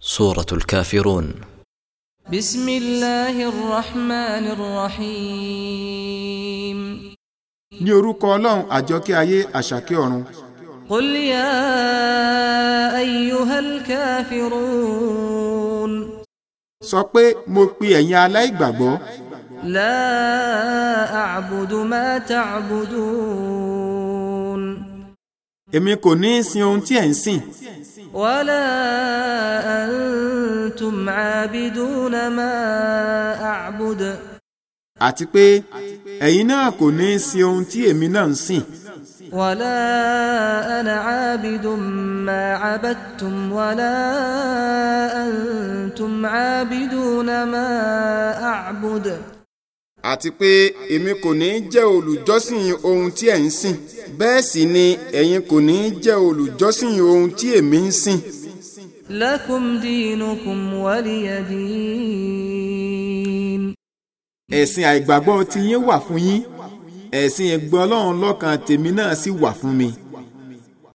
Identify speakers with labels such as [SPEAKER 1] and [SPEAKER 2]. [SPEAKER 1] سورة الكافرون
[SPEAKER 2] بسم الله الرحمن الرحيم
[SPEAKER 3] ní orúkọ ọlọ́run àjọkẹ́ ayé àṣàkẹ́ ọ̀run
[SPEAKER 2] قل يا أيها الكافرون
[SPEAKER 3] sọ pé mo pe ẹ̀yin aláìgbàgbọ́
[SPEAKER 2] لا أعبد ما تعبدون
[SPEAKER 3] èmi kò ní í sin ohun tí ẹ̀ ń sìn
[SPEAKER 2] ولا أنتم عابدون ما أعبد
[SPEAKER 3] àti pé ẹ̀yin náà kò ní í sin ohun tí èmi náà ń sìn
[SPEAKER 2] ولا أنا عابد ما عبدتم ولا أنتم عابدون ما أعبد
[SPEAKER 3] àti pé èmi kò ní í jẹ́ olùjọ́sìn ohun tí ẹ̀ ń sìn bẹ́ẹ̀ sì ni ẹ̀yin kò ní í jẹ́ olùjọ́sìn ohun tí èmi ń sìn
[SPEAKER 2] لكم دينكم ولي دين
[SPEAKER 3] ẹ̀sìn àìgbàgbọ́ tiyín wà fún yín ẹ̀sìn ìgbọ́ ọlọ́run lọ́kàn tèmi náà sì wà fún mi